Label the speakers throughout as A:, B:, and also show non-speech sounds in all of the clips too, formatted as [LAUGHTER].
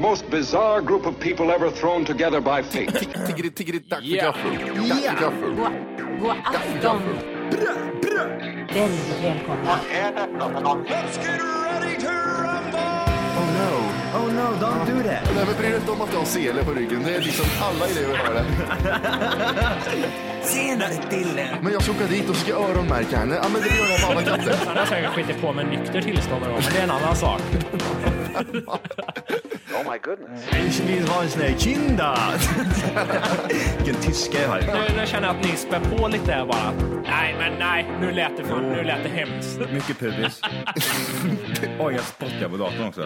A: most bizarre group of people ever thrown together by fate.
B: Tiggeri-tiggeri-tack för
C: Ja.
B: gaffel. Tack för gaffel.
D: God, god afton! Väldigt välkomna.
E: Oh no, oh no, don't do that.
B: Nej, men bry dig inte om att jag har sele på ryggen. Det är liksom alla elever har det.
E: [LAUGHS] Senare Dille.
B: Men jag ska åka dit och ska öronmärka henne. Ja, men det gör jag med alla katter.
C: Han har säkert skitit på med nykter tillstånd då, men det är en annan sak.
E: Ich will ha en sån här kinda. Vilken tyska jag har.
C: Nu, nu känner jag att ni spär på lite här bara. Nej, men nej, nu lät det, för, nu lät det hemskt.
F: Mycket pubis. Oj, jag spottar på datorn också.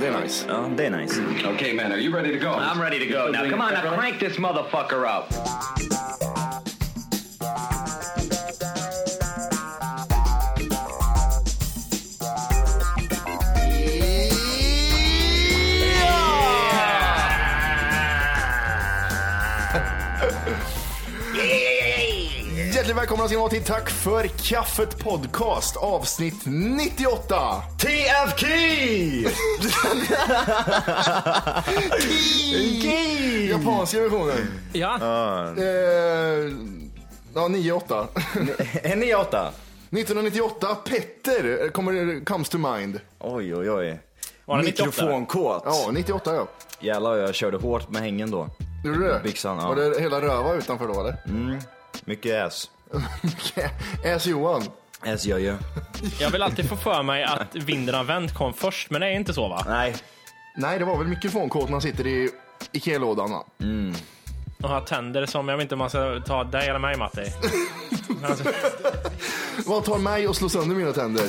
B: Det är nice.
F: Ja, det är nice.
A: okay, man, are you ready to go?
G: I'm ready to go. Now, come on, now crank this motherfucker up.
B: Hjärtligt välkomna ska ni vara till Tack för kaffet podcast avsnitt 98.
E: TFK!
B: Japanska versionen.
C: Ja,
B: Eh, ja, [LAUGHS] 98.
F: En i åtta.
B: 1998, Petter eh, kommer, comes to mind.
F: Oj, oj, oj.
C: Var det 98?
F: Mikrofonkåt.
B: Ja, 98 ja.
F: Jävlar vad jag körde hårt med hängen då.
B: Gjorde du det?
F: Byxan, ja.
B: Var det hela röva utanför då eller? [LAUGHS]
F: Mycket ass.
B: Äs Johan.
F: Ass gör ju.
C: jag vill alltid få för mig att vinden har vänt kom först, men det är inte så va?
F: Nej,
B: Nej, det var väl mikrofonkåt man sitter i Ikea-lådan va?
C: Och har tänder som, jag vet inte om man ska ta dig eller mig Matti. alltså,
B: Vad tar mig och slår sönder mina tänder?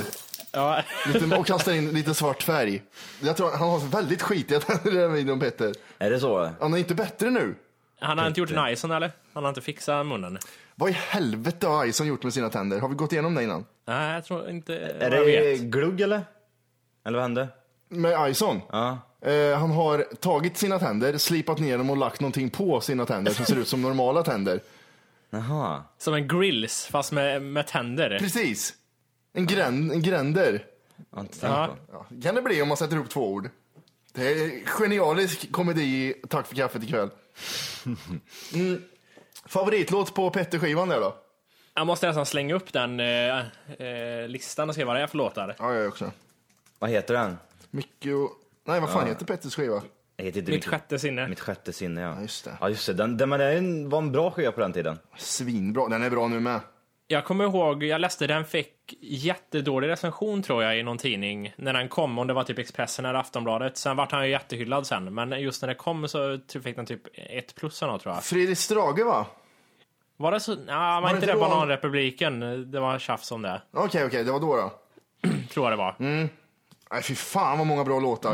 C: Ja,
B: Lite, och kastar in lite svart färg. Jag tror han har väldigt skitiga [LAUGHS] tänder i den här videon Petter.
F: är det så?
B: Han är inte bättre nu.
C: han har inte gjort najsen eller? Han har inte fixat munnen?
B: Vad i helvete har Ison gjort med sina tänder? Har vi gått igenom det innan?
C: Nej, jag tror inte
F: Är
C: vad jag
F: det
C: vet.
F: glugg eller? Eller vad hände?
B: Med Ison?
F: Ja.
B: Eh, han har tagit sina tänder, slipat ner dem och lagt någonting på sina tänder som ser ut som normala tänder.
F: Jaha.
C: Som en grills fast med, med tänder.
B: Precis. En, gränd, en gränder.
F: Jag har inte tänkt
C: Ja.
F: på.
B: Ja, kan det bli om man sätter ihop två ord. Det är genialisk komedi. i Tack för kaffet [LAUGHS] ikväll. Mm. Favoritlåt på Petter-skivan där då?
C: Jag måste nästan slänga upp den eh, eh, listan och se vad det är för låtar.
B: Ja, jag också.
F: Vad heter den?
B: Mycket och... Nej, vad fan heter Petters skiva?
F: Jag heter inte
C: Mitt
F: riktigt-
C: sjätte sinne.
F: Mitt sjätte sinne, ja.
B: just det.
F: Ja, just det. Den, den, men det är en- var en bra skiva på den tiden.
B: Svinbra. Den är bra nu med.
C: Jag kommer ihåg, jag läste den fick jättedålig recension tror jag i någon tidning när den kom, om det var typ Expressen eller Aftonbladet. Sen vart han ju jättehyllad sen, men just när det kom så ty- fick den typ ett plus eller något tror jag.
B: Fredrik Strage, va?
C: Var det så? Nej, var
B: det
C: inte
B: inte
C: det
B: då han-
C: Bananrepubliken? Det var tjafs om det,
B: Okej, okej, det var då då.
C: tror jag det var.
B: Mm. Nej, fy fan vad många bra låtar.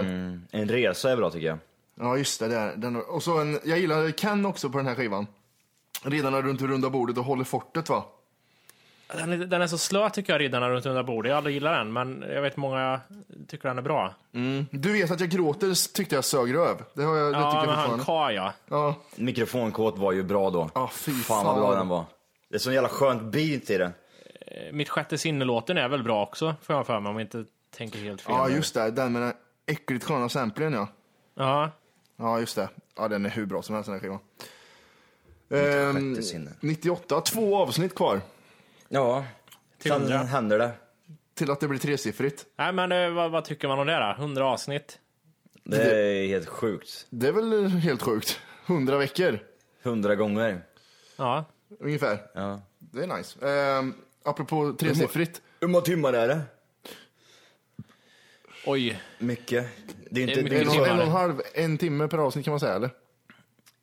F: En resa är bra tycker jag.
B: Ja, just det. Där. Den, och så en, jag gillar Ken också på den här skivan. Redan runt det runda bordet och håller fortet, va?
C: Den, är, den är så slö tycker jag, Riddarna runt runda bordet. Jag aldrig gillar den, men jag vet många tycker den är bra.
B: Du vet att jag gråter tyckte jag sög röv. Det, har jag, det
C: Ja,
B: tycker
C: men
B: jag
C: han
B: fortfarande.
C: Ka ja.
B: Ja.
F: Mikrofonkåt var ju bra då.
B: Ja, fy
F: fan vad bra den var. Det är sån jävla skönt beat i den.
C: Eh, Mitt sjätte sinne-låten är väl bra också, får jag för mig, om jag inte tänker helt fel.
B: Ja, just det. Den med den äckligt sköna samplingen, ja.
C: Ja.
B: Ja, just det. Ja, den är hur bra som helst, den här skivan. Ehm,
F: Sjätte sinne.
B: 98, två avsnitt kvar
F: Ja.
C: Till
F: Sen
C: hundra.
F: händer det.
B: till att det blir tresiffrigt.
C: Nej, men eh, vad, vad tycker man om det då? 100 avsnitt?
F: Det är helt sjukt.
B: Det är väl helt sjukt. 100 veckor
F: Hundra gånger.
C: Ja.
B: ungefär.
F: Ja.
B: Det är nice. Ehm, apropå tresiffrigt.
F: Hur många timmar är det?
C: Oj.
F: Mycket. Det är
C: Det
F: inte
C: är
F: det
C: mycket
F: är
B: En och, en
C: timmar.
F: nog
B: och en halv, en timme per avsnitt kan man säga, eller?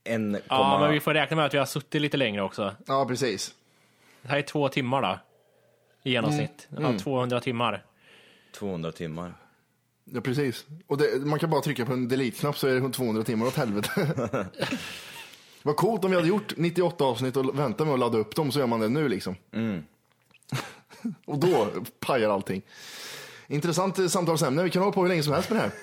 F: en
C: Ja,
F: komma...
C: men vi får räkna med att vi har suttit lite längre också.
B: Ja, precis.
C: Det här är två timmar då. I genomsnitt. Ja, 200 timmar.
F: 200 timmar.
B: Ja, precis. Och det, man kan bara trycka på en delete-knapp så är det 200 timmar åt
F: [LAUGHS]
B: helvete. Vad coolt om vi hade gjort 98 avsnitt och väntat med att ladda
F: Mm.
B: [LAUGHS] upp dem så gör man det nu liksom. och då pajar allting. Intressant eh, samtalsämne. Vi kan hålla på hur länge som helst med det här.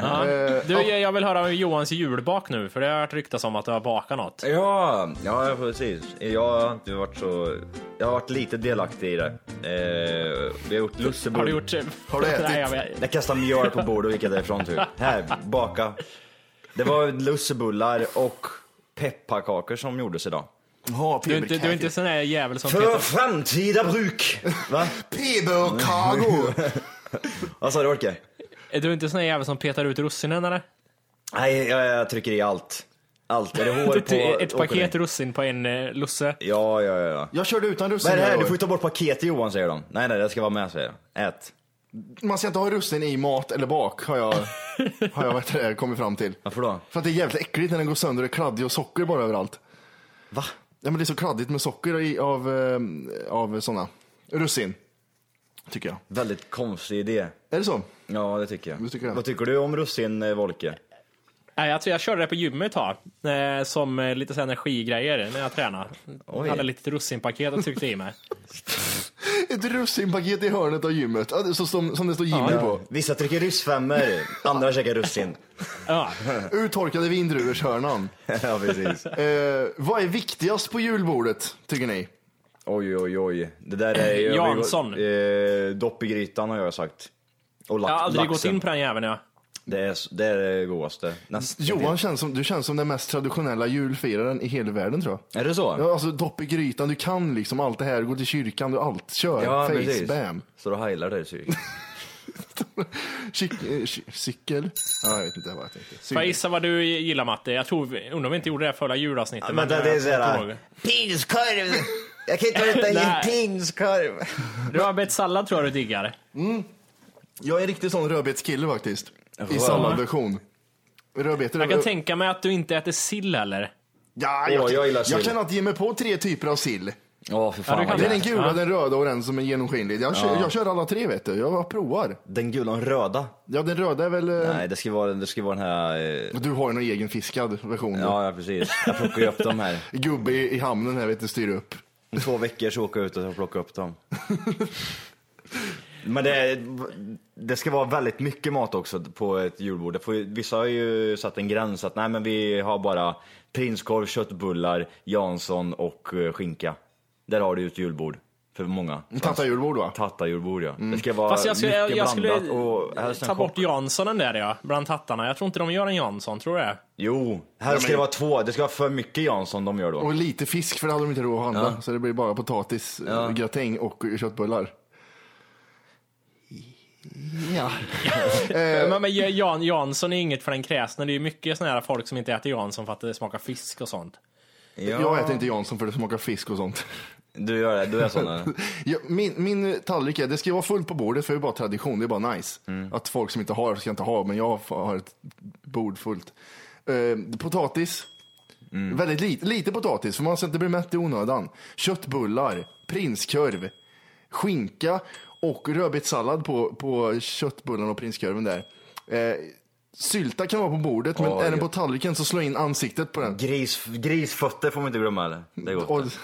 C: Ja.
B: Eh,
C: Du, jag jag vill höra om Johans julbak nu, för det har hört ryktas om att du har bakat något.
F: Ja, ja precis. Jag har inte varit så... Jag har varit lite delaktig i det. Eh, vi har gjort lussebord.
C: Har du gjort... eh,
B: Har du ätit?
C: Nej, jag vet.
F: Jag kastade mjöl på bordet och gick därifrån typ. Här, baka. Det var lussebullar och pepparkakor som gjordes idag.
B: Jaha,
C: Du, är inte- du är inte sån där jävel som
F: För
C: petar...
F: framtida bruk! Va? [LAUGHS]
B: Peberkago!
F: Vad sa du Orke?
C: Är du inte sån där jävel som petar ut russinen eller?
F: Nej, jag, jag trycker i allt. Allt. Är det
C: [LAUGHS]
F: hår
C: Ett,
F: på...
C: ett
F: åkerling?
C: paket russin på en eh, lusse.
F: Ja, ja, ja. ja.
B: Jag körde utan russin
F: Vad är det här?
B: i
F: Du
B: år.
F: får ju ta bort paketet Johan säger de. Nej, nej, det ska vara med säger de. Ät.
B: Man ska inte ha russin i mat eller bak har jag, har jag vet det, kommit fram till.
F: Varför då?
B: För att det är jävligt äckligt när den går sönder och är kladdig och socker bara överallt.
F: Va?
B: Ja, men det är så kladdigt med socker i, av, eh, av sådana russin. Tycker jag.
F: Väldigt konstig idé.
B: Är det så?
F: Ja, det tycker jag.
B: Vad tycker du?
F: Vad tycker du om russin, eh, Volke?
C: Nej, alltså jag tror jag körde det på gymmet ett tag. Eh, som eh, lite så här energigrejer när jag tränade.
F: Oj.
C: Hade lite russinpaket och tryckte i mig.
F: [LAUGHS]
B: Ett russinpaket i hörnet av gymmet. Ja, det är Så, som, som det står Jimmy på.
F: Vissa trycker ryssfemmor, andra
B: [LAUGHS]
F: käkar russin.
C: Ja.
B: Uttorkade vindruvorshörnan.
F: ja, precis.
B: Eh, vad är viktigast på julbordet, tycker ni?
F: Oj, oj, oj. Det där är ju...
C: Jansson.
F: Eh, dopp i grytan har jag sagt. Och lax,
C: Jag har aldrig
F: laxen.
C: gått in på den jäveln. Jag.
F: Det är, det är det godaste. Näst,
B: Johan, känns som, du känns som den mest traditionella julfiraren i hela världen tror jag.
F: Är det så?
B: Ja, alltså dopp i grytan, du kan liksom allt det här, gå till kyrkan, du allt, kör, face, bam.
F: Så du heilar dig Siri.
B: Cyk- eh, cy- cykel? Ja, jag vet inte vad jag tänkte.
C: Får jag
B: Cykel.
C: gissa vad du gillar Matte? Jag tror, vi- undrar om vi inte gjorde det här förra julavsnittet. eh,
F: Men det,
C: jag
F: det är
C: kommer inte
F: såhär...
C: ihåg.
F: Prinskorv! [LAUGHS] Jag kan inte äta
C: Nej.
F: prinskorv!
C: Rödbetssallad tror jag du diggar.
B: Jag är riktigt sån rödbetskille faktiskt. I
F: Röd.
B: salladversion. Rödbetor
C: Jag kan tänka mig att du inte äter sill heller.
B: ja, jag,
F: Åh, jag gillar sill.
B: jag kan inte ge mig på tre typer av sill.
F: Åh, för fan
C: du kan
F: vad
B: Det är
F: gott.
B: den gula,
C: Ja.
B: den röda och den som är genomskinlig. Jag kör, jag kör alla tre vet du, jag bara provar.
F: Den gula och den röda.
B: Ja, den röda är väl... eh,
F: Nej, det ska vara, det ska vara den här... eh,
B: Du har ju någon egen fiskad version. Ja.
F: Ja, ja precis. Jag plockar ju upp dem här.
B: Gubbe i, i hamnen här vet du, styr upp.
F: Om två veckor så åker jag ut och plockar upp dem. Men det, det ska vara väldigt mycket mat också på ett julbord. Det får, ju- vissa har ju satt en gräns att nej men vi har bara prinskorv, köttbullar, Jansson och eh, skinka. Där har du ett julbord för många.
B: Tatta julbord va? Mm.
F: Tattarjulbord ja. Det ska vara
C: Fast jag skulle, jag,
F: mycket
C: jag skulle
F: blandat och helst en
C: ta bort
F: chock.
C: Janssonen där ja, bland tattarna. Jag tror inte de gör en Jansson, tror jag.
F: Jo, här ska det vara två. Det ska vara för mycket Jansson de gör då.
B: Och lite fisk för det hade de inte råd att handla. Så det blir bara potatis, eh, gratäng och köttbullar. Ja.
C: Men, men Jan, Jansson är inget för den kräsne. Det är ju mycket såna här folk som inte äter Jansson för att det smakar fisk och sånt.
F: Ja.
B: Jag äter inte Jansson för det smakar fisk och sånt. [LAUGHS]
F: Du gör det, du är sån eller?
B: Ja, min, min tallrik är, det ska ju vara fullt på bordet för det är bara tradition, det är bara nice. Att folk som inte har ska inte ha, men jag har ett bord fullt. Eh, potatis, väldigt lite, lite potatis för man ska inte bli mätt i onödan. Köttbullar, prinskorv, skinka och rödbetssallad på, på köttbullarna och prinskorven där. Eh, sylta kan vara på bordet, men
F: Oj.
B: är den på tallriken så slå in ansiktet på den.
F: Gris, grisfötter får man inte glömma eller? Det är
B: Och,
F: gott.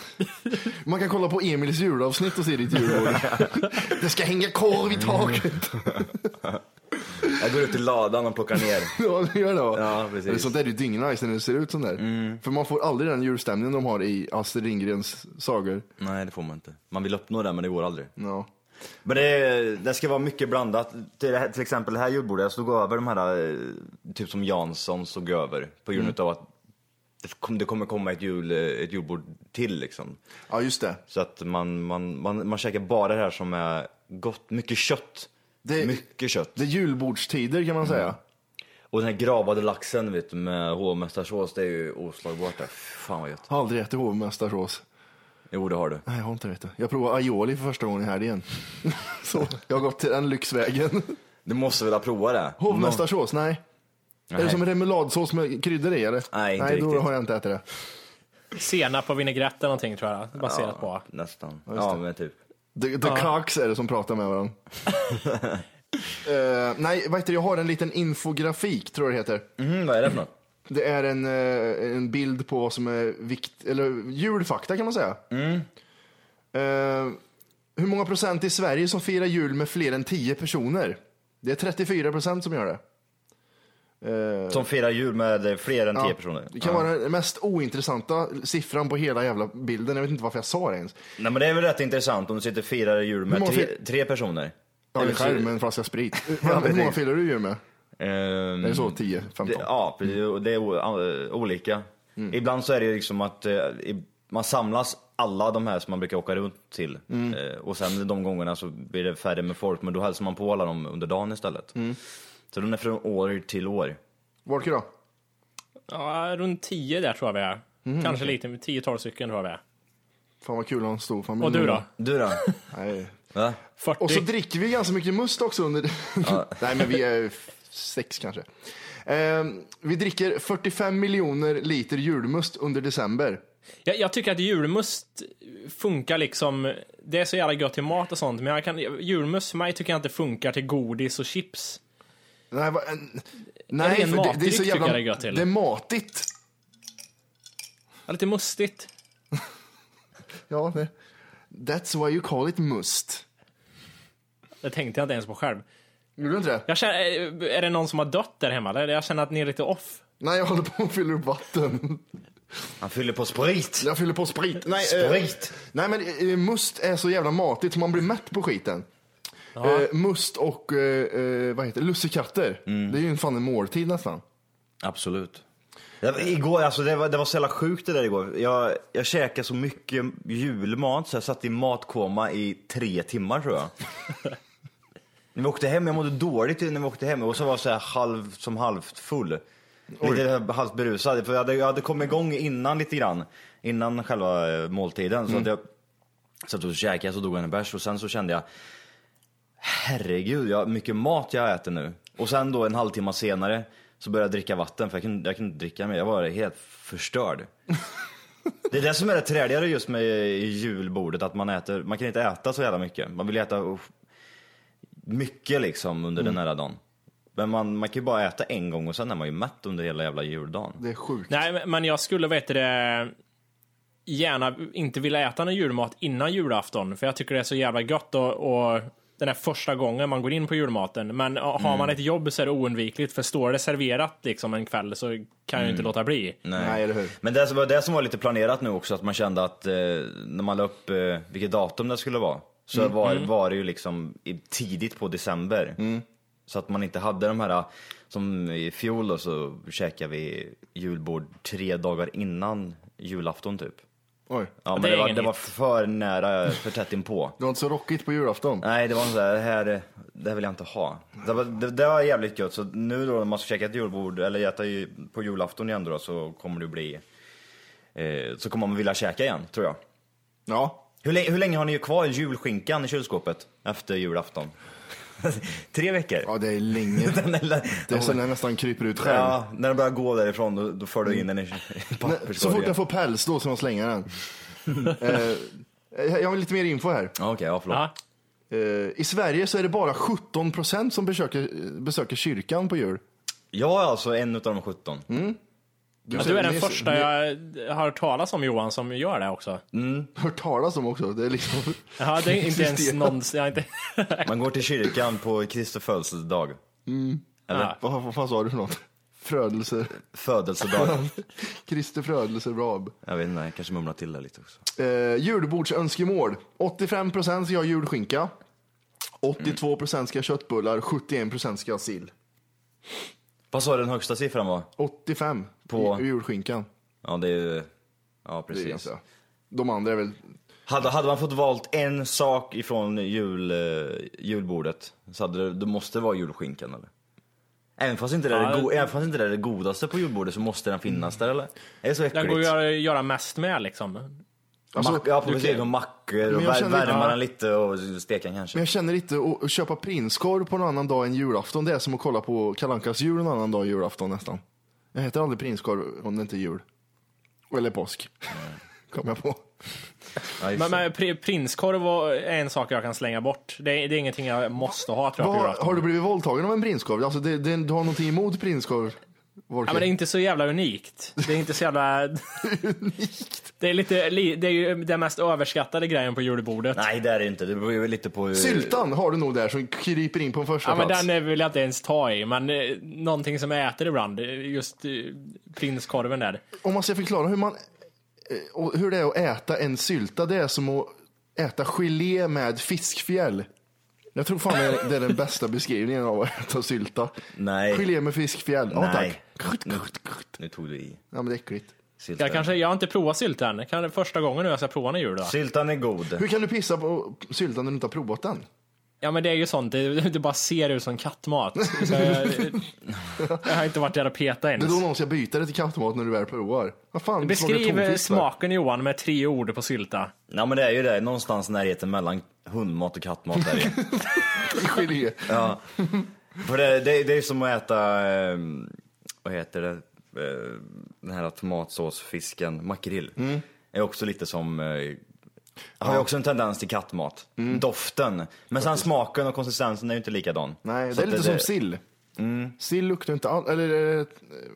B: man kan kolla på Emils julavsnitt och se ditt
F: [LAUGHS]
B: julbord. Det ska hänga korv i
F: Mm.
B: taket. [LAUGHS]
F: Jag går ut i ladan och plockar ner.
B: Ja, det gör det va?
F: Ja, precis. Mm.
B: Eller Sånt där är ju dyngnice när det ser ut sån där. För man får aldrig den julstämningen de har i Astrid Lindgrens sagor.
F: Nej det får man inte. Man vill uppnå det men det går aldrig.
B: Ja.
F: Men det, det ska vara mycket blandat. Till, det här, till exempel det här julbordet, jag stod över de här, eh, typ som Jansson stod över. På grund utav att det, kom, det kommer komma ett, jul, eh, ett julbord till liksom.
B: ja, just det.
F: Så att man, man, man, man käkar bara det här som är gott. Mycket kött.
B: Det-
F: Mycket kött.
B: Det är julbordstider kan man
F: Mm.
B: säga.
F: Och den här gravade laxen vet du, med hovmästarsås, det är ju oslagbart. det. Fan vad gött.
B: Har aldrig ätit hovmästarsås.
F: Jo det har du.
B: Nej, jag har inte vet du. Jag provade aioli för första gången i helgen. [LAUGHS] Så jag har gått till den
F: [LAUGHS]
B: lyxvägen.
F: Du måste väl ha provat det?
B: Hovmästarsås, nej. Är det
F: Nej.
B: som en remouladsås med kryddor i eller?
F: Nej, inte
B: Nej, då
F: riktigt.
B: har jag inte ätit det.
C: Senap och vinägrett eller någonting tror jag, baserat på.
F: Nästan. Ja, men typ.
B: The, the Cox är det som pratar med
F: [LAUGHS]
B: varandra. Eh, nej, vad heter det? Jag har en liten infografik, tror jag det heter.
F: Mm, vad är det för något?
B: Det är en, eh, en bild på
F: Mm.
B: vad som är vikt, eller julfakta kan man säga. Eh, hur många procent i Sverige som firar jul med fler än 10 personer? Det är 34 procent som gör det. Eh,
F: Som firar jul med fler än 10
B: ja,
F: personer.
B: Det kan
F: Ja.
B: vara den mest ointressanta siffran på hela jävla bilden. Jag vet inte varför jag sa det ens.
F: Nej men det är väl rätt intressant om du sitter och firar jul med
B: Hur många
F: tre,
B: fir-
F: tre personer.
B: Ja,
F: Eller
B: en
F: så-
B: skärm med en flaska sprit.
F: [LAUGHS] Ja,
B: Hur många
F: precis.
B: firar du jul med?
F: Ehm,
B: Är det så 10, 15?
F: det, ja, precis. Och det är o, a- olika.
B: Mm.
F: Ibland så är det ju liksom att eh, i- man samlas alla de här som man brukar åka runt till.
B: Mm.
F: Eh, och sen de gångerna så blir det färre med folk, men då hälsar man på alla dem under dagen istället.
B: Mm.
F: Så den är från år till år.
B: Volker då?
C: Ja, runt 10 där tror jag vi är.
B: Mm,
C: Kanske lite, 10-12 stycken tror jag vi är.
B: Fan vad kul att ha en stor familj.
C: Och du då?
B: [LAUGHS]
F: Du då?
B: Nej.
F: Va?
C: 40?
B: Mm. Och så dricker vi ganska mycket must också under... [LAUGHS] Nej, men vi är f- sex kanske. Ehm, vi dricker 45 miljoner liter julmust under december.
C: Jag, jag tycker att julmust funkar liksom, det är så jävla gött till mat och sånt, men jag kan, julmust för mig tycker jag inte funkar till godis och chips.
B: Nej, va, en, nej
C: ren
B: för det, det är
C: matdryck
B: så
C: tycker
B: jävla...
C: jag det är gött till.
B: det är matigt.
C: Ja, lite mustigt.
B: Ja, det. That's why you call it must.
C: Det tänkte jag inte ens på själv.
B: Gjorde du inte det?
C: Jag känner, är- är det någon som har dött där hemma? Eller? Jag känner att ni är lite off.
B: Nej, jag håller på och fyller upp vatten.
F: Han fyller på sprit!
B: Jag fyller på sprit. Nej, eh,
F: Sprit!
B: nej men eh, must är så jävla matigt så man blir mätt på skiten.
C: Ja.
B: Eh, must och eh, eh, vad heter det? lussekatter.
C: Mm.
B: Det är ju en fan en måltid nästan.
F: Absolut. Jag, igår, alltså det var, det var så jävla sjukt det där igår. Jag, jag käkade så mycket julmat så jag satt i matkoma i tre timmar tror jag. när vi åkte hem, jag mådde dåligt när vi åkte hem och så var jag så här halv, som halvt full. Lite halvt berusad, för jag hade, jag hade kommit igång innan lite grann. Innan själva eh, måltiden. Så att jag satt och käkade, så dog jag en bärs och sen så kände jag herregud, jag, mycket mat jag äter nu. Och sen då en halvtimme senare så började jag dricka vatten för jag kunde, jag kunde inte dricka mer. Jag var helt förstörd. Det är det som är det träligare just med julbordet, att man äter, man kan inte äta så jävla mycket. Man vill äta uff, mycket liksom under den här dagen. Men man, man kan ju bara äta en gång och sen är man ju mätt under hela jävla juldagen.
B: Det är sjukt.
C: Nej, men- men jag skulle veta det gärna inte vilja äta någon julmat innan julafton, för jag tycker det är så jävla gött och, och den här första gången man går in på julmaten. Men ja, har
F: Mm.
C: man ett jobb så är det oundvikligt, för står det serverat liksom en kväll så kan jag ju
F: Mm.
C: inte låta bli.
B: Nej, eller hur?
F: Men det som var det som var lite planerat nu också, att man kände att eh, när man la upp eh, vilket datum det skulle vara, så
B: Mm,
F: var, var det ju liksom i, tidigt på december.
B: Mm.
F: Så att man inte hade de här, som i fjol då, så käkade vi julbord tre dagar innan julafton typ.
B: Oj.
F: Ja, men
C: det
F: det,
C: är
F: var,
C: ingen
F: det var
C: hit.
F: för nära, för tätt inpå.
B: Det var inte så rockigt på julafton.
F: Nej, det var så här, det här, det här vill jag inte ha. Det var, det, det var jävligt gött, så nu då när man ska käka ett julbord, eller äta ju- på julafton igen då, så kommer det bli, eh, så kommer man vilja käka igen, tror jag.
B: Ja.
F: Hur, lä- hur länge har ni kvar julskinkan i kylskåpet efter julafton? [LAUGHS] Tre veckor? [LAUGHS]
B: Ja, det är
C: [LAUGHS]
B: länge.
F: Den är-
B: Det är så den nästan kryper ut själv.
F: Ja, när den börjar gå därifrån då, då för du in den i [LAUGHS] i
B: Nej, Så fort
F: papperskorgen.
B: jag får päls då ska man slänga
C: [LAUGHS]
B: den. Eh, jag har lite mer info här.
F: Ja, Okej, ja förlåt.
C: Ja.
B: Eh, I Sverige så är det bara 17 procent som besöker, besöker kyrkan på jul.
F: Jag är alltså en utav de 17.
C: Ja, du är den första jag har talat om Johan som gör det också.
B: hört talas om också. Det är liksom...
C: Ja, det är inte ens
F: [LAUGHS]
B: Existerar.
C: någon... Jag har inte...
F: Man går till kyrkan på Kristi födelsedag.
C: Ja.
B: [LAUGHS] vad, vad fan sa du för något? Frödelse.
F: Födelsedag.
B: [LAUGHS] Kristi frödelse Rab.
F: Jag vet inte, jag kanske mumlar till det lite också.
B: Eh, julbordsönskemål. 85 procent ska ha julskinka. 82 procent ska ha köttbullar. 71 procent ska ha sill.
F: Vad sa du den högsta siffran var?
B: 85
F: På-
B: i- i julskinkan.
F: Ja, det är ju... Ja,
B: Det är
F: precis.
B: ganska. De andra är väl...
F: Hade, hade man fått valt en sak ifrån jul, eh, julbordet så hade det, det måste vara julskinkan eller? Även fast, inte det är det
C: Ja.
F: go- även fast inte det är det godaste på julbordet så måste den finnas där eller? Det är så äckligt.
C: Den går ju att göra mest med liksom.
B: Alltså,
F: Mack, ja, precis. Och mackor och
B: Men jag
F: vär-
B: känner inte-
F: värma den lite och steka den kanske.
B: Men jag känner inte att att köpa prinskorv på någon annan dag än julafton. Det är som att kolla på Kalankas jul en annan dag än julafton nästan. Jag heter aldrig prinskorv om det inte är jul. Eller påsk. [LAUGHS] Kom jag på.
F: Ja, just
C: Men,
F: det.
C: men pri- prinskorv och- är en sak jag kan slänga bort. Det är, det är ingenting jag måste ha tror jag på
B: Vad,
C: julafton.
B: har du blivit våldtagen av en prinskorv? Alltså det, det, du har någonting emot prinskorv? Var
C: Ja, men det är inte så jävla unikt. Det är inte
B: [LAUGHS]
C: så jävla... Det är, lite, li- det är ju den mest överskattade grejen på julbordet.
F: Nej det är det inte, det beror ju lite på hur...
B: Syltan har du nog där som kryper in på en första
C: Ja, men
B: plats.
C: den eh, vill jag inte ens ta i, men eh, någonting som jag äter ibland, eh, just eh, prinskorven där.
B: Om man ska förklara hur, man, eh, och hur det är att äta en sylta, det är som att äta gelé med fiskfjäll. Jag tror fan det är- det är den bästa beskrivningen av att äta sylta.
F: Nej.
B: Gelé med fiskfjäll. Ja,
F: Nej.
B: tack.
F: Nu tog du i.
B: Ja, men det är äckligt.
F: Syltan.
C: Jag, kanske, jag har inte provat sylt än. Kan, det är första gången nu jag ska prova en jul. Då.
F: Syltan är god.
B: Hur kan du pissa på syltan när du inte har provat den?
C: Ja men det är ju sånt, det, [LAUGHS] det bara ser ut som kattmat.
B: [LAUGHS]
C: Så jag, jag har inte varit där och petat
B: Det är då
C: ens.
B: någon ska byta det till kattmat när du väl provar. Vad fan, det smakar
C: Beskriv eh,
B: tonfisk där.
C: smaken Johan med tre ord på sylta.
F: Ja men det är ju det, någonstans i närheten mellan hundmat och kattmat är det ju.
B: [LAUGHS] Gelé.
F: Ja. För det, det, det är som att äta, eh, vad heter det, eh, den här tomatsåsfisken, makrill.
B: Mm.
F: Är också lite som, eh, har ju också en tendens till kattmat.
B: Mm.
F: Doften. Men sen smaken och konsistensen är ju inte likadan.
B: Nej,
F: Så
B: det är
F: att
B: lite som sill. Sill luktar inte alls, eller eh,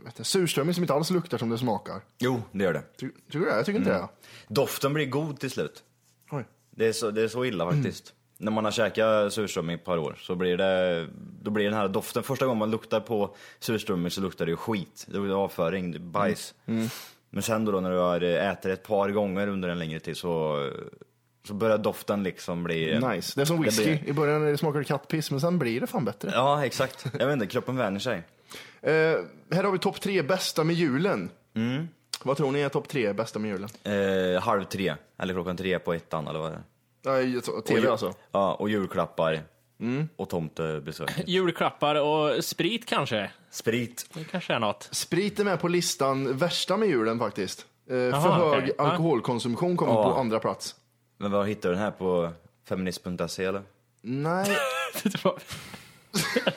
B: vet jag, surströmming som inte alls luktar som det smakar.
F: Jo, det gör det.
B: Ty, tycker du det? Jag tycker inte det.
F: Doften blir god till slut.
B: Oj.
F: Det är så, det är så illa faktiskt. När man har käkat surströmming i ett par år så blir det, då blir den här doften, första gången man luktar på surströmming så luktar det ju skit. Det luktar avföring, det är bajs.
B: Mm.
F: Men sen då, då när du har ätit ett par gånger under en längre tid så, så börjar doften liksom bli...
B: Nice. Det är som whisky.
F: blir-
B: I början är det smakar det kattpiss, men sen blir det fan bättre.
F: Ja, exakt. Jag vet inte, kroppen vänjer sig.
B: Eh, här har vi topp tre bästa med julen. Vad tror ni är topp tre bästa med julen?
F: Eh, halv tre, eller klockan tre på ettan eller vad det är.
B: Nej, så- tv
F: Och-
B: alltså. Mm.
F: Ja, och julklappar. Och tomtebesök.
C: Julklappar och sprit kanske?
F: Sprit.
C: Det kanske är något.
B: Sprit är med på listan värsta med julen faktiskt. Eh, för
C: Jaha,
B: hög
C: okej. Ja.
B: alkoholkonsumtion kommer
F: Ja.
B: på andra plats.
F: Men vad hittar du den här på feminist.se E, eller?
B: Nej,
C: [LAUGHS] Det var-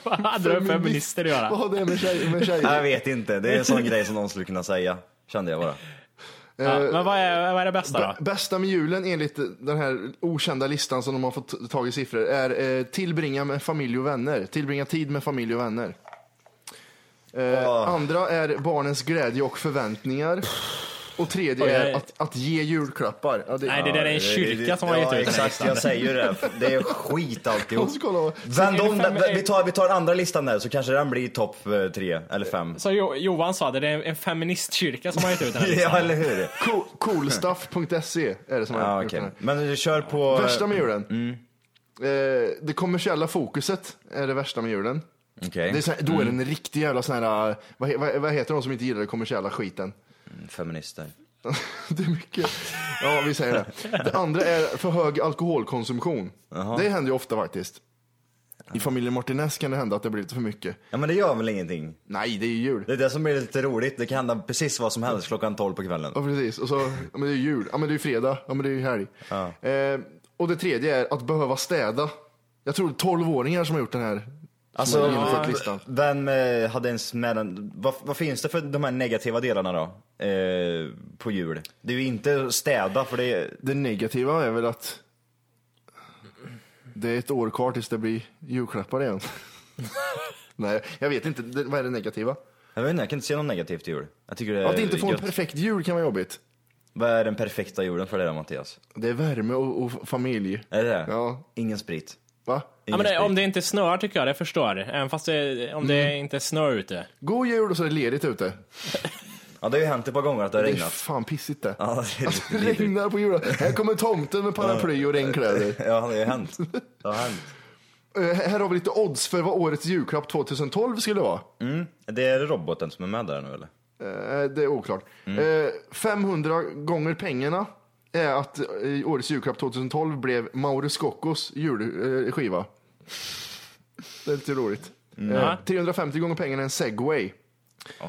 C: Vad hade det med feminister att
B: vad
C: göra?
B: har det med tjejer med tjejer?
F: Nej, Jag vet inte, det är en sån grej som någon skulle kunna säga. Kände jag bara.
C: Ja, men vad är, vad är det bästa då?
B: B- Bästa med julen enligt den här okända listan som de har fått tag i siffror är eh, tillbringa med familj och vänner. Tillbringa tid med familj och vänner. Eh, Andra är barnens glädje och förväntningar. Och tredje
C: Oj, nej.
B: är att, att ge julklappar. Ja, det,
C: Nej, det där är en kyrka som har gett
F: Ja
C: ut den här
F: exakt,
C: listan.
F: jag säger ju det. Det är skit alltihop.
B: måste kolla vad-
F: Vänd om
C: Fem-
F: den, vi tar, vi tar andra listan där så kanske den blir topp eh, tre eller fem.
C: Så jo, Johan sa det, det är en feministkyrka som har gett ut den här
F: [LAUGHS]
C: listan.
F: Ja eller hur?
B: Co- Coolstuff.se är det som
F: Ja
B: har gjort
F: Ah, okej.
B: den här.
F: Men du kör på...
B: Värsta med julen. Eh, det kommersiella fokuset är det värsta med julen.
F: Okej,
B: Det är så här, då är det en riktig jävla sån här, eh, vad, he- vad, vad heter de som inte gillar den kommersiella skiten?
F: feminister.
B: [LAUGHS] Det är mycket. Ja, vi säger det. Det andra är för hög alkoholkonsumtion. Det händer ju ofta faktiskt. I familjen Martinez kan det hända att det blir lite för mycket.
F: Ja men det gör väl ingenting?
B: Nej, det är ju jul.
F: Det är det som blir lite roligt, det kan hända precis vad som helst klockan 12 på kvällen.
B: Ja, precis. Och så, ja, men det är ju jul. Ja, men det är ju fredag. Ja, men det är ju helg. Eh, och det tredje är att behöva städa. Jag tror det är 12-åringar som har gjort den här. Som har infört listan.
F: Alltså, vem eh, hade ens med den? Vad, vad finns det för de här negativa delarna då? Eh, på jul? Det är ju inte städa för det är...
B: Det negativa är väl att det är ett år kvar tills det blir julklappar igen. Nej, jag vet inte. Det, vad är det negativa?
F: Jag vet inte, jag kan inte se något negativt till jul. Jag tycker det är
B: Att inte få en
F: gött.
B: perfekt jul kan vara jobbigt.
F: Vad är den perfekta julen för dig då Mattias?
B: Det är värme och, och familj.
F: Är det det?
B: Ja.
F: Ingen sprit.
B: Va?
C: Ja, men det,
F: Ingen
C: om det inte snöar tycker jag det förstår. Även fast det, om det inte snöar ute.
B: God jul och så är det ledigt ute.
F: Ja, det har ju hänt ett par gånger att det har
B: Det är [LAUGHS]
F: regnat.
B: fan pissigt det.
F: Ja, det är
B: Alltså,
F: lite
B: det [LAUGHS]
F: vidrigt.
B: regnar på julen. Här kommer tomten med paraply och regnkläder.
F: Ja, det har ju hänt. Det har hänt.
B: Eh, här har vi lite odds för vad årets julklapp 2012 skulle vara.
F: Mm. Det är roboten som är med där nu eller?
B: Eh, det är oklart.
F: Mm.
B: Eh, 500 gånger pengarna är att eh, årets julklapp 2012 blev Mauro Scoccos julskiva. Eh, skiva. det är lite roligt.
F: Mm.
B: Eh, 350 gånger pengarna är en segway.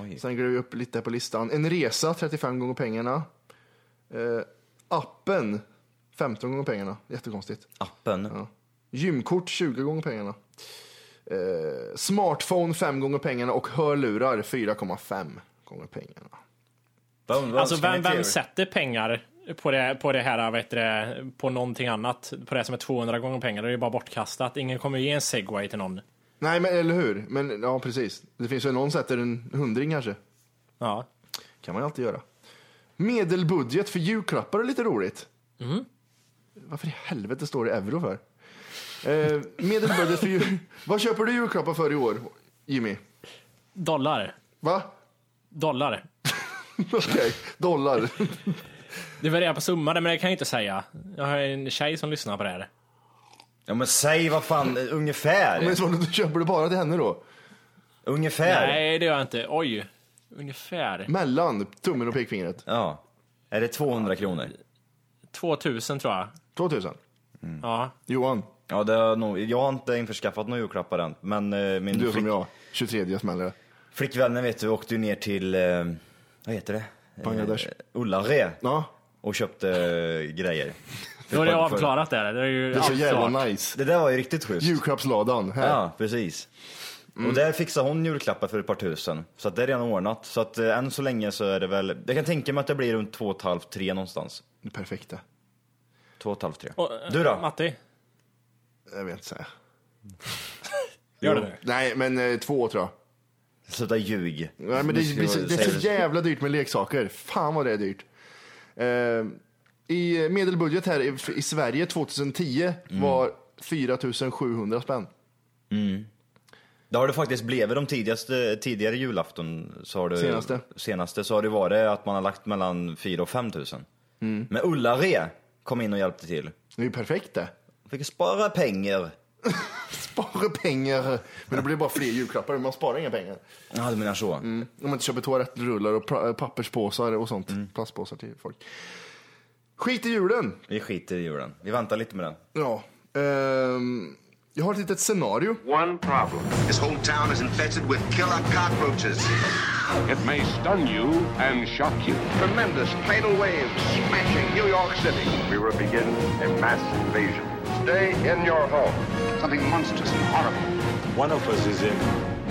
F: Oj.
B: Sen går vi upp lite här på listan. En resa, 35 gånger pengarna. Eh, appen, 15 gånger pengarna. Jättekonstigt.
F: Appen.
B: Gymkort, 20 gånger pengarna. Eh, smartphone, 5 gånger pengarna. Och hörlurar, 4,5 gånger pengarna.
F: Vad- vad
C: Alltså
F: önskar ni
C: vem,
F: till
C: vem
F: jul?
C: sätter pengar på det, på det här, vet du, det, på någonting annat? På det som är 200 gånger pengar, det är ju bara bortkastat. Ingen kommer ju ge en segway till någon.
B: Nej, men eller hur? Men ja, precis. Det finns ju någon sätter en hundring kanske.
C: Ja.
B: Kan man ju alltid göra. Medelbudget för julklappar är lite roligt. Varför i helvete står det euro för? Eh, medelbudget för jul... Vad köper du julklappar för i år, Jimmy?
C: Dollar.
B: Va? [LAUGHS]
C: Dollar.
B: Okej, dollar.
C: Det varierar på summan, men det kan jag inte säga. Jag har en tjej som lyssnar på det här.
F: Ja men säg vad fan, eh,
B: Men
F: ungefär.
B: så, du köper du bara till henne då?
F: Ungefär.
C: Nej, det gör jag inte. Oj. Ungefär.
B: Mm. Mellan tummen och pekfingret?
F: Ja. Är det 200 kronor?
C: 2000 tror jag.
B: 2000?
C: Ja.
B: Johan,
F: Ja, det har nog, jag har inte införskaffat några julklappar än. Men eh, min
B: du är
F: flick,
B: som jag. 23 smäller det.
F: flickvännen vet du åkte ju ner till, eh, vad heter det?
B: Bangladesh.
F: Eh, Ullare
B: Ja,
F: och köpte eh,
C: [LAUGHS]
F: grejer.
C: Då är det avklarat där. Det är
B: det
C: ju
B: är så
C: allt klart.
B: jävla nice.
F: Det där var ju riktigt schysst.
B: Julklappsladan. Här.
F: Ja, precis.
B: Mm.
F: Och där fixade hon julklappar för ett par tusen. Så att det är redan ordnat. Så att eh, än så länge så är det väl, jag kan tänka mig att det blir runt två och ett halvt, tre någonstans.
B: Det perfekta.
F: Två och ett halvt, tre.
C: Och, eh,
F: Du då?
C: Matti,
B: Jag vet inte säga.
C: gör det nu.
B: Nej, men eh, två tror jag.
F: Sluta ljug.
B: Nej, men det,
F: Nu ska
B: är så-
F: jag
B: det är
F: säga
B: så jävla dyrt med leksaker. Fan vad det är dyrt. Eh, I medelbudget här i, i Sverige 2010
F: Mm.
B: var 4700 spänn.
F: Det har det faktiskt blivit de tidigaste, tidigare julafton. Så har det,
B: Senaste.
F: Senaste så har det varit att man har lagt mellan 4 och 5 tusen.
C: Mm.
F: Men Ullare kom in och hjälpte till.
B: Det är ju perfekt det.
F: Fick spara pengar.
B: Spara pengar. Men det blir bara fler julklappar. Man sparar inga pengar.
F: Ja, du menar så.
C: Mm.
B: Om man inte köper toalettrullar och pra- eh, papperspåsar och sånt.
F: Mm.
B: Plastpåsar till folk. Skit i julen.
F: Vi skiter i julen. Vi väntar lite med den.
B: Ja. ehm, jag har ett litet scenario.
H: One problem. This whole town is infested with killer cockroaches.
A: It may stun you and shock you.
H: Tremendous tidal waves smashing New York City. We will begin a mass invasion. Stay in your home. Something monstrous and horrible.
I: One of us is in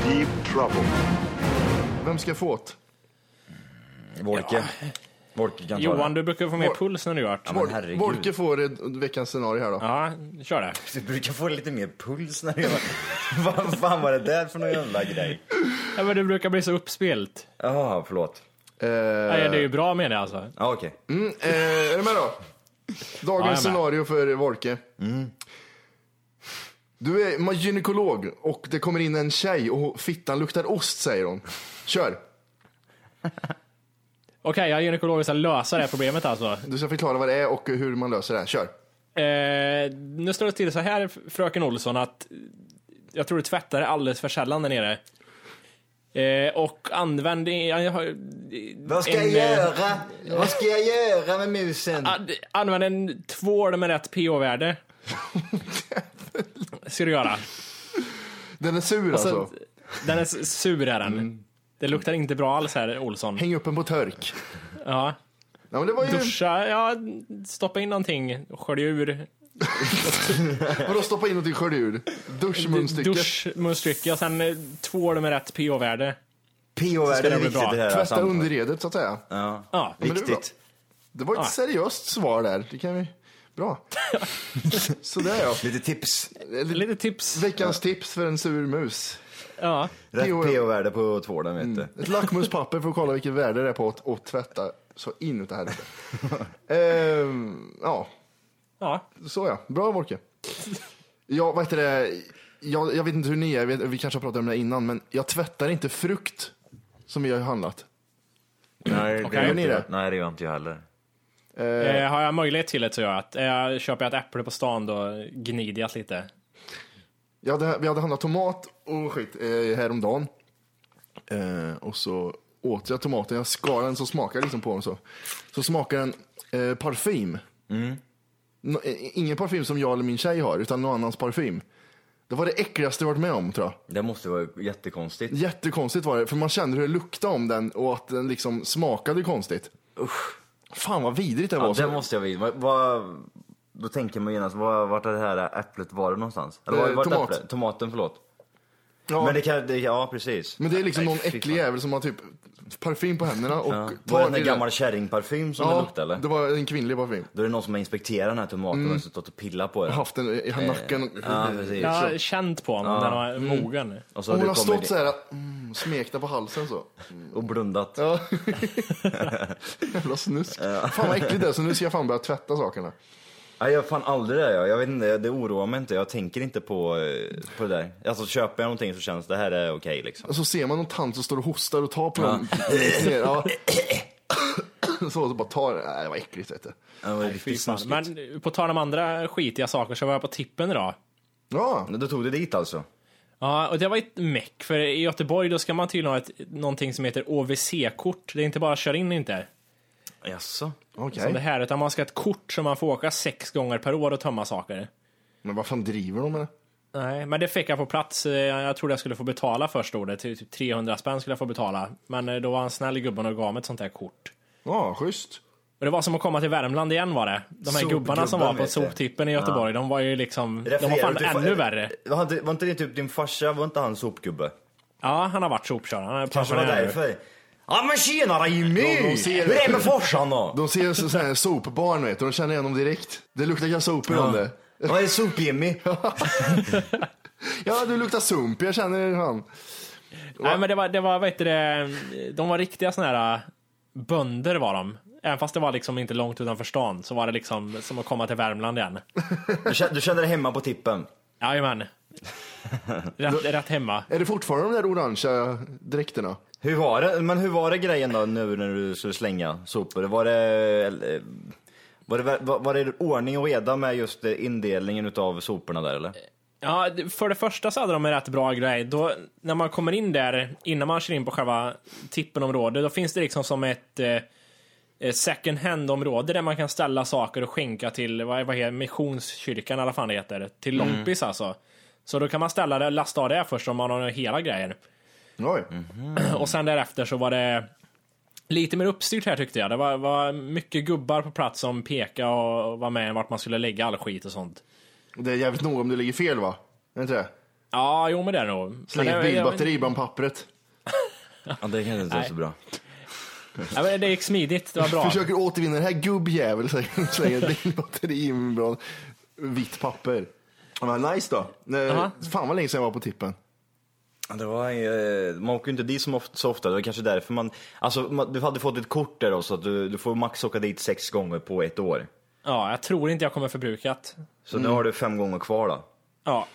I: deep trouble.
B: Vem ska få åt?
F: Volke. Volke kan ta
C: Johan,
F: det.
C: du brukar få mer puls när du gör det.
F: Ja, men herregud.
B: Volke får ett, veckans scenario här då.
C: Ja, kör det.
F: Du brukar få lite mer puls när du gör [LAUGHS] Vad fan var det där för någon jävla grej?
C: Ja, men det brukar bli så uppspelt.
F: Jaha, förlåt.
C: Nej, det är ju bra med det alltså.
F: Ja, okej.
B: Eh, är du med då?
C: Ja, jag är
B: Dagens
C: med. Mm.
B: scenario för Volke. Du är ma- gynekolog och det kommer in en tjej och fittan luktar ost säger hon. Kör!
C: Okej, jag är gynekolog och ska lösa det här problemet alltså.
B: Du ska förklara vad det är och hur man löser det. här. Kör!
C: Eh, nu står det till så här, fröken Olsson, att jag tror du tvättar alldeles för sällan där nere. Eh, och använder... Jag har,
F: Vad ska jag
C: en, eh,
F: göra? Vad ska jag göra med musen?
C: Ad, använd en tvål med rätt pH-värde. Ska du göra.
B: Den är sur
C: Och sen,
B: alltså.
C: Den är s- sur är den. Det luktar inte bra alls här, Olsson.
B: Häng upp den på törk.
C: Ja.
B: Ja, men det var ju...
C: Duscha, ja, stoppa in någonting, skölj ur
B: Vadå stoppa in något i sköljdjur? Duschmunstycket.
C: duschmunstycke och sen eh, tvål med rätt pH-värde.
F: PH-värde
C: det
F: är
C: bli
F: viktigt
C: bra.
F: i det här
B: Tvätta
F: samtalet.
B: underredet så att säga.
F: Ja,
C: Ja.
B: men det är
F: viktigt.
B: Det var ett
C: Ja.
B: seriöst svar där. Det kan vi...
C: [LAUGHS]
B: Bra. Sådär ja.
F: Lite tips.
C: Lite tips.
B: Veckans tips för en sur mus.
C: Ja.
F: Rätt
B: PH
F: PH-värde på tvålen vet du.
B: Ett lackmuspapper för att kolla vilket värde det är på att och tvätta så inuti helvete. ehm, ja,
C: ja.
B: så ja. Bra Volke. Ja, vad heter det? Jag, jag vet inte hur ni är, jag vet, vi kanske har pratat om det här innan, men jag tvättar inte frukt som jag har handlat.
F: Nej,
C: Okej. gör
B: ni det?
F: Nej, det gör inte jag heller.
C: Eh, har jag möjlighet till det så gör jag att eh, köper jag ett äpple på stan då gnider jag lite.
B: Jag hade, vi hade handlat tomat och skit eh, häromdagen. Eh, och så åt jag tomaten, jag skar den så smakade jag liksom på den så. Så smakar den eh, parfym.
F: Mm.
B: Nå- eh, ingen parfym som jag eller min tjej har, utan någon annans parfym. Det var det äckligaste jag varit med om tror jag.
F: Det måste vara jättekonstigt.
B: Jättekonstigt var det, för man kände hur det luktade om den och att den liksom smakade konstigt. Usch. Fan vad vidrigt det var.
F: Ja, det
B: Så-
F: måste jag veta. Vad- vad- Då tänker man genast, vad- vart har det här äpplet varit någonstans? Eller
B: Eh,
F: var, vart
B: tomat.
F: äpplet? Tomaten, förlåt.
B: Ja.
F: Men det kan, det, ja precis.
B: Men det är liksom någon
F: fy
B: äcklig jävel som har typ parfym på händerna och
F: Ja. Var det
B: tar
F: den där
B: i
F: gammal kärringparfym som det
B: Ja,
F: luktade eller?
B: det var en kvinnlig parfym.
F: Då är det någon som har inspekterat den här tomaten
B: Mm.
F: och suttit och pillat på den.
B: Haft den i nacken.
F: Ja, precis.
C: Jag har känt på honom när han var mogen.
F: Och så
B: Och
F: har
B: hon
F: du
B: har
F: kommit
B: stått så här, mm, smekta på halsen så. [LAUGHS]
F: och blundat.
B: Ja. Jävla snusk. Fan vad äckligt det är, så nu ska jag fan börja tvätta sakerna.
F: Nej, jag fan aldrig det. Jag, jag vet inte, det oroar mig inte. Jag tänker inte på, eh, på det där. Alltså köper jag någonting så känns det här är okej liksom.
B: Och så ser man någon tant som står och hostar och tar på dem. Ner, ja. [COUGHS] Så, så bara tar det. Nej, det var äckligt vet du.
F: Det var riktigt
C: Fan,
F: snuskigt.
C: Men på tal om andra skitiga saker så var jag på tippen idag.
B: Ja,
F: Då tog du dit alltså?
C: Ja, och det var ett meck, för i Göteborg då ska man tydligen ha ett, någonting som heter OVC-kort. Det är inte bara kör in inte,
F: Jaså?
B: okej.
C: som det här, utan man ska ha ett kort som man får åka sex gånger per år och tömma saker.
B: Men vad fan driver de med det?
C: Nej, men det fick jag på plats. Eh, Jag trodde jag skulle få betala först då, det till typ 300 spänn skulle jag få betala. Men eh, då var han snäll gubben och gav mig ett sånt här kort.
B: Ja, schysst.
C: Och det var som att komma till Värmland igen var det. De här gubbarna som
F: Sopgubbar,
C: var på
F: vet du.
C: soptippen i Göteborg, de var ju liksom, de var
F: Refererar du
C: fan
F: till-
C: ännu värre.
F: Var inte, var inte det typ din farsa, var inte han sopgubbe?
C: Ja, han har varit sopkörare. Han är
F: Kanske var det
C: pensionär nu.
F: därför? Ja men tjena Jimmy!
B: De- de ser-
F: Hur är det med
C: [LAUGHS]
F: farsan då?
B: De ser så- sån här sopbarn vet du, de känner igen dem direkt. Det luktar kanske sopor om det.
F: Vad är sop-Jimmy?
B: Ja, du luktar sump, jag känner han.
C: Nej, men det var, det var, vad heter det, de var riktiga såna här äh, bönder var de. Även fast det var liksom inte långt utanför stan så var det liksom som att komma till Värmland igen.
F: Du kände- Du kände dig hemma på tippen?
C: Jajamän. Rätt, rätt hemma.
B: Är det fortfarande de där orangea dräkterna?
F: Hur var det, men hur var det grejen då nu när du skulle slänga sopor? Var det, eller, var det, var, var det ordning och reda med just eh, indelningen utav soporna där eller?
C: Ja, för det första så hade de en rätt bra grej. Då, när man kommer in där, innan man kör in på själva tippenområdet, då finns det liksom som ett eh, eh, second hand-område där man kan ställa saker och skänka till, vad, vad heter missionskyrkan eller vad fan det heter, till loppis alltså. Så då kan man ställa det, lasta av det först om man har hela grejen.
B: Oj.
F: Mm.
C: Och sen därefter så var det lite mer uppstyrt här tyckte jag. Det var, var mycket gubbar på plats som pekade och var med vart man skulle lägga all skit och sånt.
B: Det är jävligt noga om du ligger fel va? Är det inte det?
C: Ja, jo men det är det nog.
B: Släng
C: Men
B: ett
C: det-
B: bilbatteri bland pappret.
F: Ja, det kanske inte är så bra.
C: Ja, men det gick smidigt, det var bra.
B: Försöker återvinna den här gubbjäveln, säger hon. slänger
C: [LAUGHS]
B: ett bilbatteri bland vitt papper. Ja, men nice då. Nej,
C: Jaha.
B: Fan vad länge sedan jag var på tippen.
F: Ja, Det var, eh, man åker ju inte dit som ofta, så ofta, det var kanske därför man... Alltså man, du hade fått ett kort där då så att du, du får max åka dit sex gånger på ett år.
C: Ja, jag tror inte jag kommer förbrukat.
F: Så
B: Mm.
F: nu har du fem gånger kvar då.
C: Ja,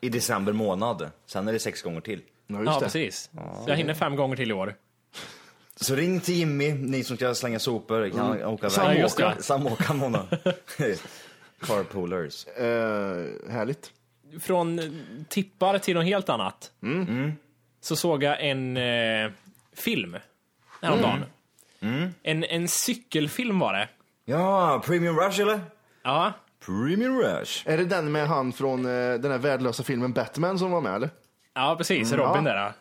F: I december månad. Sen är det sex gånger till.
B: Ja, just
C: ja
B: det.
C: precis. Så jag hinner fem gånger till i år.
F: Så ring till Jimmy, ni som ska slänga sopor. Kan åka
C: Samåka.
F: iväg. Samåka månad. [LAUGHS] Carpoolers.
B: Eh, härligt.
C: Från tippar till något helt annat.
B: Mm.
C: Så såg jag en eh, film häromdagen.
B: Mm.
C: En, en cykelfilm var det.
F: Ja, Premium Rush eller?
C: Ja,
F: Premium Rush.
B: Är det den med han från eh, den här värdelösa filmen Batman som var med eller?
C: Ja, precis.
F: Mm,
C: Robin där. ja.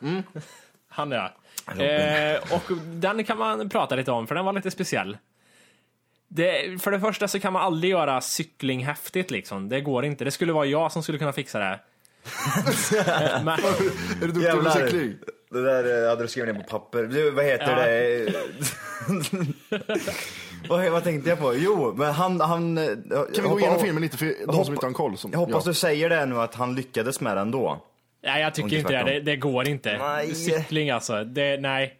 C: Han ja. Eh, och den kan man prata lite om, för den var lite speciell. Det, för det första så kan man aldrig göra cykling häftigt liksom. Det går inte. Det skulle vara jag som skulle kunna fixa det.
F: [LAUGHS]
C: här. Eh, Men,
B: Är du duktig på cykling?
F: Det där eh, hade du skrivit ner på papper. Du, vad heter
C: Ja.
F: det? [LAUGHS] vad, vad tänkte jag på? Jo, men han... han kan
B: Kan vi gå igenom filmen lite för de som inte har en koll? Som,
F: Jag hoppas
B: ja.
F: du säger det nu att han lyckades med den då.
C: nej, jag
F: Inte
C: tycker inte det.
F: tvärtom.
C: Det, det går inte.
F: Nej.
C: Cykling alltså. Det, nej.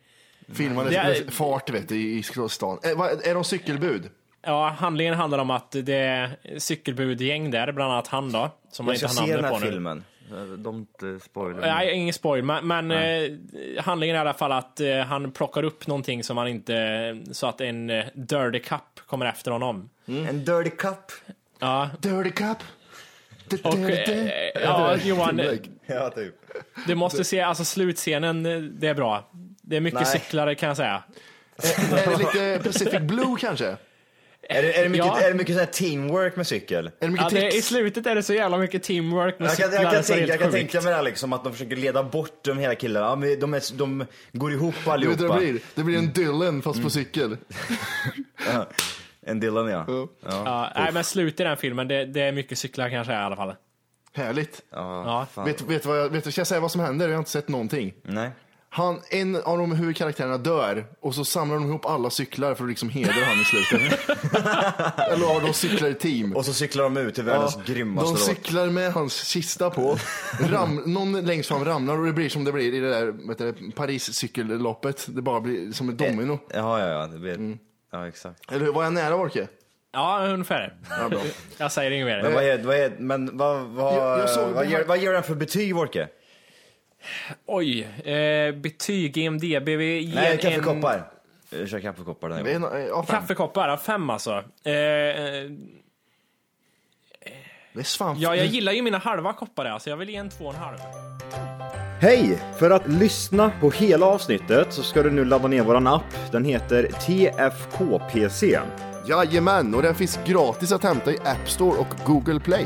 B: Filmen
C: Det
B: är,
C: är-
B: fart vet du, i i stan. Är, vad- är de cykelbud?
C: Ja, handlingen handlar om att det är cykelbudgäng där, bland annat han då. Som man
F: Jag
C: inte
F: ska
C: har
F: se den
C: namnet på
F: här
C: nu.
F: filmen. Eh, Don't spoila.
C: Nej, ingen spoil, men, men eh, handlingen är i alla fall att eh, han plockar upp någonting som han inte... Så att en eh, dirty cup kommer efter honom.
F: En dirty cup. [LAUGHS]
C: Ja,
B: Dirty cup? The
C: och,
B: dirty-
C: eh,
F: [LAUGHS]
C: ja Johan, eh,
F: Ja, typ.
C: du måste se, alltså slutscenen, eh, det är bra. Det är mycket
F: Nej.
C: cyklare kan jag säga.
B: [LAUGHS] Är det lite Pacific Blue kanske? Är
F: Är det, är det mycket,
C: Ja.
F: är det mycket så här teamwork med cykel?
B: det mycket
C: Ja, det, I
B: tricks?
C: slutet är det så jävla mycket teamwork med
F: Jag kan,
C: cyklar
F: jag kan,
C: så det är
F: tänka,
C: helt
F: jag kan
C: sjukt.
F: tänka mig det här liksom, att de försöker leda bort de hela killarna. Ja, men de, är, de går ihop
B: Du vet hur det
F: allihopa.
B: blir? Det blir
C: Mm.
B: en Dylan fast på cykel.
F: En Dylan ja.
B: Ja.
C: Ja, nej, men slutet i den filmen, det, det är mycket cyklar kan jag säga i alla fall.
B: Härligt.
C: Ja.
F: Ah, fan.
B: Vet, vet, vad jag, vet du, ska jag säga vad som händer? Jag har inte sett någonting.
F: Nej.
B: Han, en av de huvudkaraktärerna dör och så samlar de ihop alla cyklar för att liksom hedra han i slutet.
F: [LAUGHS]
B: Eller ja, de cyklar i team.
F: Och så cyklar de ut till världens grymmaste
B: de
F: låt.
B: cyklar med hans kista på. Ram, någon längst fram ramlar och det blir som det blir i det där vet du, Paris-cykelloppet. Det bara blir som ett domino.
F: Ja, ja, ja. Det blir...
B: Mm.
F: Ja, exakt.
B: Eller hur? Var jag nära Orke?
C: ja, ungefär.
B: Ja, bra.
C: Jag säger inget mer.
F: Men vad, är, vad, är, men vad, vad,
B: Eh. Jag- jag såg
F: vad,
B: det
F: ger,
B: här-
F: vad ger den för betyg, Wolke?
C: Oj, eh, betyg i IMDB. Vi ger
F: Nej,
C: en-
F: kaffekoppar. Jag Eh, kör kaffekoppar den här gången.
B: En, ja, fem.
C: Kaffekoppar, ja, fem alltså. Eh, eh,
B: Det är svamp.
C: ja, jag gillar ju mina halva koppar där, så jag vill ge en två och en halv.
E: Hej! För att lyssna på hela avsnittet så ska du nu ladda ner våran app. Den heter TFKPC.
B: Jajamän, och den finns gratis att hämta i App Store och Google Play.